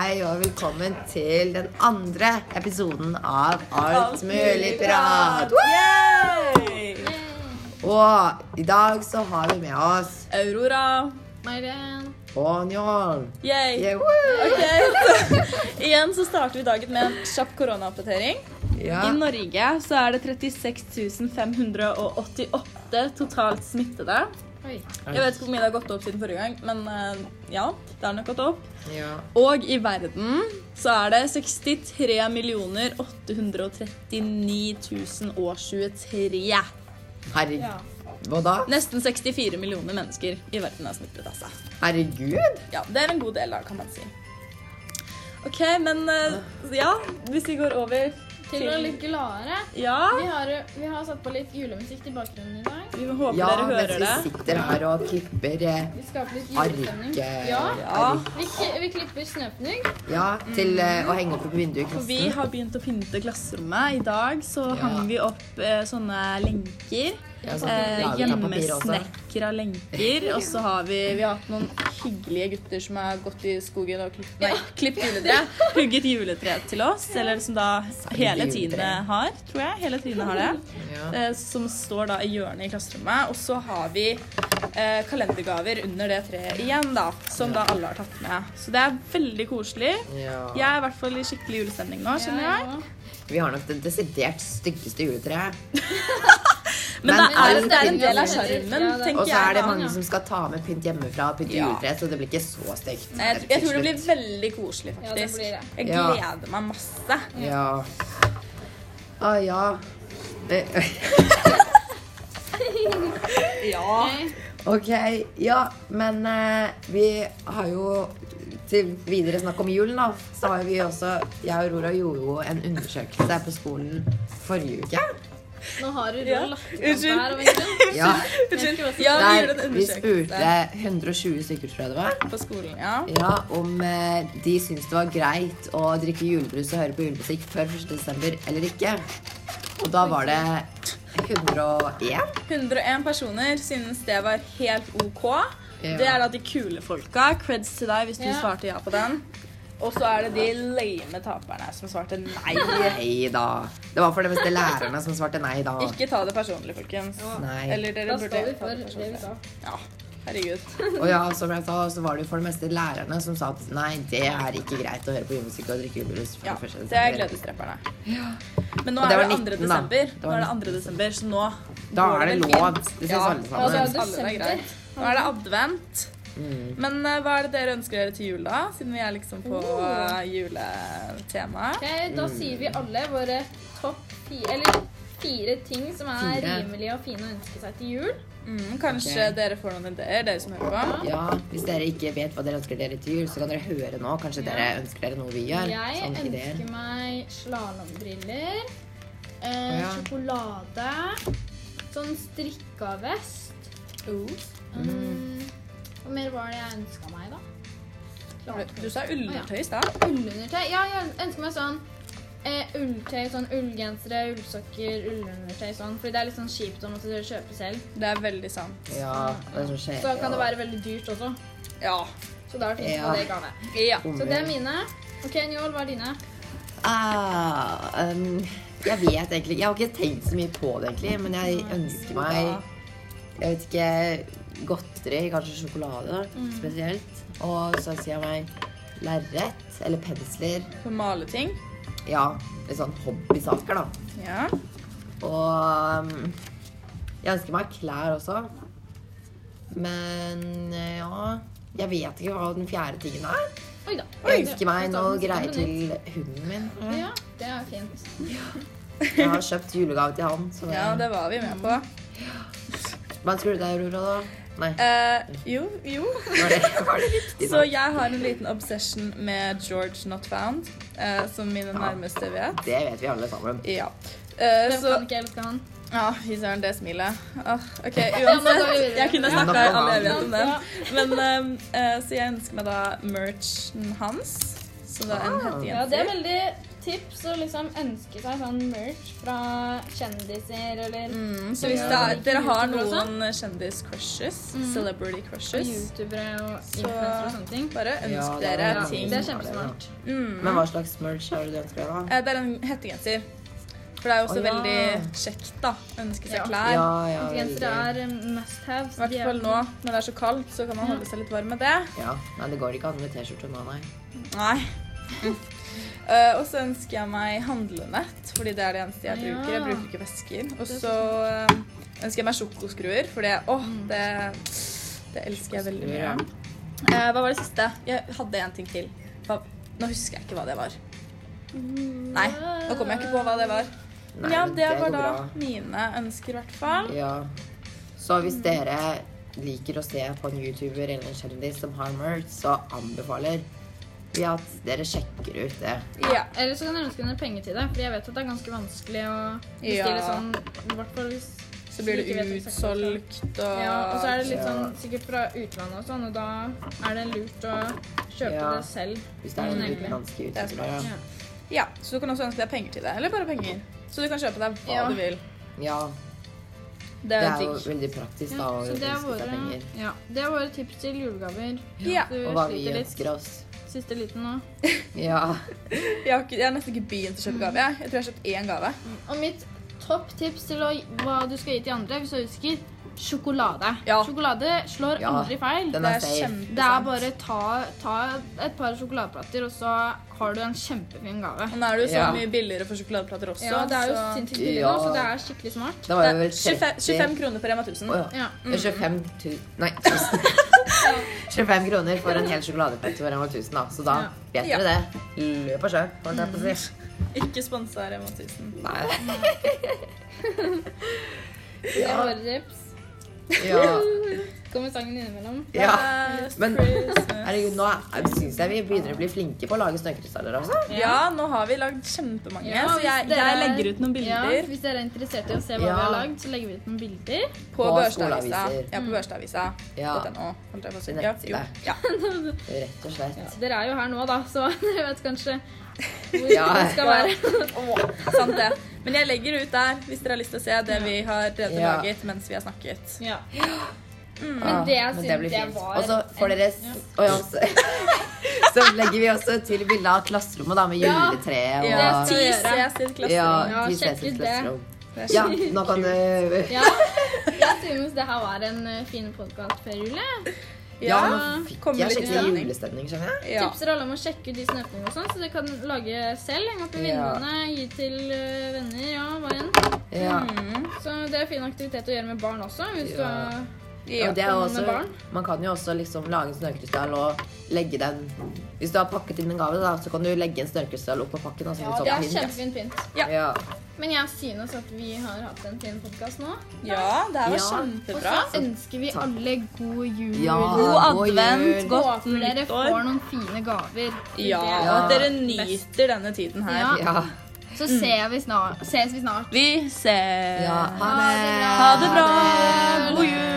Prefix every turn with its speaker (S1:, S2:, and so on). S1: Hei og velkommen til den andre episoden av Alt mulig prat.
S2: Yay!
S1: Og i dag så har vi med oss
S2: Aurora.
S3: Mairen.
S1: Ponjol.
S2: Yay!
S1: Yeah, woo!
S2: Ok, Igjen så starter vi dagen med en kjapp koronaoppdatering.
S1: Ja.
S2: I Norge så er det 36 588 totalt smittede.
S3: Oi.
S2: Jeg vet ikke hvor mye det har gått opp siden forrige gang, men eh, ja, det har nok gått opp.
S1: Ja.
S2: Og i verden så er det 63 839 023.
S1: Herregud. Hva da?
S2: Nesten 64 millioner mennesker i verden er smittet. altså.
S1: Herregud.
S2: Ja, det er en god del, da, kan man si. OK, men eh, ja, hvis vi går over
S3: Til noe litt gladere.
S2: Ja.
S3: Vi har, vi har satt på litt julemusikk til bakgrunnen i dag.
S2: Vi håper
S1: Ja,
S2: dere
S1: mens
S2: hører
S1: vi
S2: det.
S1: sitter her og klipper eh,
S3: Vi skaper litt julestemning.
S1: arket
S3: Ja.
S2: Ja,
S3: Vi, k- vi klipper snøfnugg.
S1: ja, til eh, å henge opp på vinduet i
S2: Mm. for vi
S1: klassen.
S2: har begynt å pynte klasserommet. I dag så
S1: Ja.
S2: hang vi opp eh, sånne lenker.
S1: Ja, sånn at vi
S2: Eh,
S1: lager av papir også.
S2: Hjemmesnekra lenker. Og så har vi, vi har hatt noen hyggelige gutter som har gått i skogen og klippet, nei, klippet juletre. Hugget juletre til oss. Eller som da
S1: juletre.
S2: hele tiende har, tror jeg. Hele tiende har det.
S1: Ja.
S2: eh, som står da i hjørnet i klasserommet. Og så har vi eh, kalendergaver under det treet igjen, da, som da alle har tatt med. Så det er veldig koselig. Jeg
S1: Ja.
S2: er i hvert fall i skikkelig julestemning nå, skjønner jeg.
S3: Ja, ja.
S1: Vi har nok det desidert styggeste juletreet.
S2: Men det er,
S1: Men-
S2: det er en del av
S3: Ja, det-
S2: sjarmen,
S1: Og
S2: tenker
S1: så er
S2: jeg.
S1: det
S2: da.
S1: mange som skal ta med pynt hjemmefra og pynte
S2: Ja.
S1: juletre, så det blir ikke så stygt.
S2: Jeg, jeg tror det blir veldig koselig,
S3: Ja, det
S2: faktisk.
S3: blir det.
S2: Jeg
S1: Ja.
S2: gleder meg masse.
S1: Ja. Å ja. Eh,
S2: Ja.
S1: Ok, ja, men eh, vi har jo til videre snakk om julen, da. Så har vi også Jeg og Aurora gjorde jo en undersøkelse på skolen forrige uke.
S3: Nå har du
S2: Ja.
S3: lagt opp
S2: Unnskyld.
S3: her. og egentlig-
S1: Ja,
S3: Jeg skulle også-
S2: Ja, vi
S1: der
S2: gjorde en
S1: vi
S2: undersøkelse
S1: spurte 120 stykker, tror jeg det var,
S2: på skolen. Ja.
S1: Ja, om eh, de syns det var greit å drikke julebrus og høre på julemusikk før 1. desember eller ikke. Og da var det 101.
S2: 101 personer synes det var helt OK.
S1: Ja.
S2: Det er da de kule folka. Creds til deg hvis du
S3: Ja.
S2: svarte ja på den. Og så er det de lame taperne som svarte nei.
S1: Nei da. Det var for det meste lærerne som svarte nei da.
S2: Ikke ta det personlig, folkens.
S1: Nei.
S2: Eller dere
S3: Da står vi
S2: burde
S3: for
S2: ta det
S3: det vi
S2: personlig.
S3: sa.
S2: Ja, herregud.
S1: Og ja, som jeg sa, så var det jo for det meste lærerne som sa at nei, det er ikke greit å høre på julemusikk og drikke julebrus før
S2: Ja,
S1: 1.
S2: det er
S1: desember.
S2: gledesdreperne. Men nå
S1: Og
S2: er
S1: det
S2: det
S1: var
S2: 2.
S1: 19, da.
S2: desember.
S1: Det var
S2: Nå er det 2. desember, så nå
S1: Da
S2: går
S1: er det
S2: vel
S1: lov.
S2: fint.
S1: Det syns
S2: Ja. altså,
S1: alle
S3: Og det
S1: sammen.
S3: er
S2: Alle er greit.
S3: desember.
S2: Nå er det advent.
S1: Mm.
S2: Men eh, hva er det dere ønsker dere til jul, da? Siden vi er liksom på uh, juletema.
S3: Ok, da sier vi alle våre topp fire, eller fire ting som er
S1: Fire.
S3: rimelige og fine å ønske seg til jul.
S2: Mm, kanskje
S1: Ok.
S2: dere får noen ideer, dere som hører på.
S1: Ja, Hvis dere ikke vet hva dere ønsker dere til jul, så kan dere høre nå. Kanskje dere ønsker dere noe vi gjør. sånn
S3: Jeg
S1: Sånne ideer.
S3: ønsker meg slalåmbriller,
S1: Å,
S3: eh,
S1: ja.
S3: sjokolade, sånn strikka vest. Um,
S1: Mm.
S3: Hva mer var det jeg ønska meg, da? Klart.
S2: Du sa ulltøy i stad.
S3: Ullundertøy. Ja, jeg ønsker meg sånn eh, ulltøy, sånn ullgensere, ullsokker, ullundertøy sånn. Fordi det er litt sånn kjipt å måtte kjøpe selv.
S2: Det er veldig sant.
S1: Ja, det er sånn skjer.
S3: Så kan det være veldig dyrt også.
S2: Ja.
S3: Så da er det fint å
S1: Ja.
S3: få det i gave.
S2: ja.
S3: Så det er mine. Ok, Njål, hva er dine?
S1: Ah, um, jeg vet egentlig Jeg har ikke tenkt så mye på det, egentlig. Men jeg ønsker meg Jeg vet ikke Godteri, kanskje sjokolade spesielt. Og så ønsker jeg meg lerret eller pensler.
S2: For maleting.
S1: Ja, litt sånn hobbysaker, da.
S2: Ja.
S1: Og um, jeg ønsker meg klær også. Men eh, ja Jeg vet ikke hva den fjerde tingen er.
S3: Oi da.
S1: Jeg ønsker meg
S3: Det-
S1: noe
S3: det-
S1: greier til hunden min.
S2: Mm.
S3: Ja, det er fint.
S1: Jeg har kjøpt julegave til han. Så
S2: ja, det var vi med på.
S1: Hva ønsker du deg, Aurora? da? Nei,
S2: Eh, jo, jo.
S1: var det, var det riktig?
S2: Eh, Så jeg har en liten obsession med George Not Found, eh, som mine nærmeste vet.
S1: Det vet vi alle sammen.
S2: Ja. Eh,
S3: Hvem
S2: så
S3: kan ikke elske han?
S2: Ja, fy søren, det smilet. Ah, OK,
S3: Ja, nå går vi
S2: uansett.
S3: videre.
S2: Jeg kunne
S1: Nok om
S2: snakka i all
S1: han.
S2: evighet om den. Men ehm, eh, eh, Så jeg ønsker meg da merchen hans. Så det er en
S1: Ah.
S3: Ja, det er
S2: hettegenser.
S3: veldig tips å liksom ønske seg sånn merch fra kjendiser eller
S2: Mm, så hvis det er, dere har
S3: sånn.
S2: noen kjendis-crushes,
S3: Mm.
S2: celebrity
S3: og
S2: crushes,
S3: youtubere og
S2: Så-
S3: influensere og sånne ting.
S2: bare
S1: Ja,
S2: ønsk
S1: det er
S2: dere
S1: mange
S2: ting.
S3: Det er
S1: som har
S3: kjempesmart.
S1: da.
S2: Mm.
S1: Men hva slags merch har du ønska deg, da?
S2: Eh, Det er en hettegenser. For det er jo også
S1: Å, ja.
S2: veldig kjekt, da. Ønske seg
S3: Ja.
S2: klær.
S1: Ja, ja,
S3: Influensere
S1: veldig.
S3: er um, must haves.
S2: I hvert fall nå når det er så kaldt, så kan man holde seg litt varm med det.
S1: Ja, Nei, det går ikke an med T-skjorte nå, nei.
S2: Nei. Eh, og så ønsker jeg meg handlenett, fordi det er det eneste jeg
S3: Ja.
S2: bruker. Jeg bruker ikke vesker. Og så eh, ønsker jeg meg sjokoskruer, for det Å,
S3: Mm.
S2: det, det elsker jeg veldig mye.
S1: Ja.
S2: Eh, hva var det siste? Jeg hadde en ting til. Hva, nå husker jeg ikke hva det var. Nei, nå kommer jeg ikke på hva det var. Men
S1: Nei,
S2: ja,
S1: men
S2: det var
S1: går
S2: da
S1: bra.
S2: mine ønsker, i hvert fall.
S1: Ja. Så hvis dere liker å se på en YouTuber eller en kjendis som har merch, så anbefaler vi at dere sjekker ut det.
S2: Ja.
S3: Eller så kan dere ønske dere penger til det, Fordi jeg vet at det er ganske vanskelig å bestille
S2: Ja.
S3: sånn. I hvert fall hvis
S2: Så blir
S3: Ikke
S2: det
S3: vet eksakt hva det er.
S2: utsolgt og
S3: Ja, og så er det litt
S1: Ja.
S3: sånn sikkert fra utlandet og sånn, og da er det lurt å kjøpe
S1: Ja.
S3: det selv.
S1: Hvis det er
S3: Mm,
S1: en
S3: egentlig.
S1: utenlandsk
S2: Det er
S1: YouTuber.
S2: smart.
S1: ja.
S2: Ja, så du kan også ønske deg penger til det. Eller bare penger. Så du kan kjøpe deg hva
S3: Ja.
S2: du vil.
S1: Ja,
S2: Det
S1: det
S2: er
S1: er
S2: jo
S1: jo
S2: digg.
S1: veldig praktisk da
S3: Ja,
S1: å
S3: så det er,
S1: ønske seg
S3: våre,
S1: penger.
S3: ja, det er våre tips til julegaver.
S2: Ja.
S3: Du
S1: Og hva vi
S3: sliter litt.
S1: ønsker oss.
S3: Siste liten nå.
S1: Ja.
S2: Jeg har, ikke, jeg har nesten ikke begynt
S3: Mm.
S2: å kjøpe gave. Jeg Jeg tror jeg har kjøpt én gave.
S3: Og mitt topp tips til å, hva du skal gi til andre, hvis du husker, sjokolade.
S2: Ja.
S3: Sjokolade slår
S1: Ja,
S3: aldri feil.
S1: Den
S2: Det
S1: er
S2: er
S1: safe.
S2: kjempesant.
S3: Det er bare ta, ta et par sjokoladeplater, og så har du en kjempefin gave.
S2: Og nå er det jo så
S1: Ja.
S2: mye billigere for sjokoladeplater også.
S3: Ja, det er jo
S2: så-
S3: sinnssykt
S1: Ja.
S3: billig nå, så det er skikkelig smart.
S1: Det
S2: Det
S1: var jo
S2: er
S1: vel
S2: 25, 25
S1: 30
S2: kroner på Rema 1000.
S1: Å ja.
S3: Ja.
S1: Det er 25 tu... Nei, 1000. 25 kroner for en hel sjokoladepølse for en var 1000, da. Så da vet
S2: Ja.
S1: dere det. Løp og sjø, holdt jeg på å si.
S2: Ikke sponsa Rema 1000.
S1: Nei.
S3: Det er våre tips.
S1: Ja.
S3: Kommer sangen innimellom.
S1: ja.
S2: Last
S1: Men-
S2: Christmas.
S1: Herregud, nå syns jeg vi begynner å bli flinke på å lage snøkrystaller. Altså.
S2: Ja, nå har vi lagd kjempemange.
S3: Ja,
S2: så jeg,
S3: hvis dere-
S2: jeg legger ut noen bilder
S3: Ja, hvis dere er interessert i å se hva
S1: Ja.
S3: vi har lagd, så legger vi ut noen bilder.
S2: på
S1: På
S2: Børstadavisa.
S1: skoleaviser.
S2: Ja, på
S3: Mm.
S2: børstavisa.
S1: Ja.
S2: .no, holdt jeg på å si.
S1: På
S2: Ja,
S1: nettsida.
S2: jo. Ja.
S1: Rett og slett.
S3: Dere er jo her nå, da, så dere vet kanskje hvor
S1: Ja.
S3: det skal være.
S2: Sant det. Men jeg legger ut der hvis dere har lyst til å se det vi har redde
S1: Ja.
S2: laget mens vi har snakket.
S3: Ja.
S1: Ah,
S3: Mm, det jeg synes
S1: blir
S3: jeg
S1: fint.
S3: var
S1: Og så får dere s- Å ja, så, så legger vi også til bilde av klasserommet da, med
S3: Ja.
S1: juletreet og
S2: Ja,
S3: det
S2: ti
S3: skal vi gjøre.
S2: ses i et
S1: ja,
S2: klasserom.
S3: Ja,
S1: vi ses i
S3: sjekk ut det.
S1: klasserom.
S2: Det er
S1: Ja,
S2: skikkelig
S1: nå kan du
S3: Ja, jeg synes det her var en eh, fin podkast før jul. jeg.
S1: Ja,
S2: Ja.
S1: nå fikk
S2: kommer
S1: jeg
S2: litt
S1: skikkelig
S2: stemning.
S1: julestemning, skjønner jeg.
S2: Ja.
S3: Tipser alle om å sjekke ut de snøpningene og sånn, så dere kan lage selv. Henge opp i
S1: Ja.
S3: vinduene, gi til eh, venner, ja, hva enn.
S1: Ja.
S2: Mm.
S3: Så det er fin aktivitet å gjøre med barn også. Hvis du
S1: Ja.
S3: har
S1: Ja,
S2: Ja.
S1: det er
S3: Med
S1: også,
S3: barn.
S1: man kan jo også liksom lage en snøkrystall og legge den Hvis du har pakket inn en gave, da, så kan du legge en snøkrystall oppå pakken. Altså,
S3: Ja,
S1: litt sånn
S3: kjempefint pynt.
S2: Ja.
S1: pin. Ja.
S3: Men jeg synes at vi har hatt en fin podkast nå.
S2: ja, det her var
S1: Ja.
S3: Og
S2: kjempebra.
S3: så ønsker vi
S1: Takk.
S3: alle god jul.
S1: Ja,
S2: God
S1: jul.
S2: advent, godt
S3: Håper dere
S2: nyttår.
S3: får noen fine gaver.
S2: Ja, og
S1: Ja.
S2: at dere nyter denne tiden her.
S3: Ja.
S1: Ja.
S3: Så ser vi snart, ses vi snart.
S2: Vi ses.
S1: ja.
S3: Ha det bra.
S2: Ha det bra. God jul.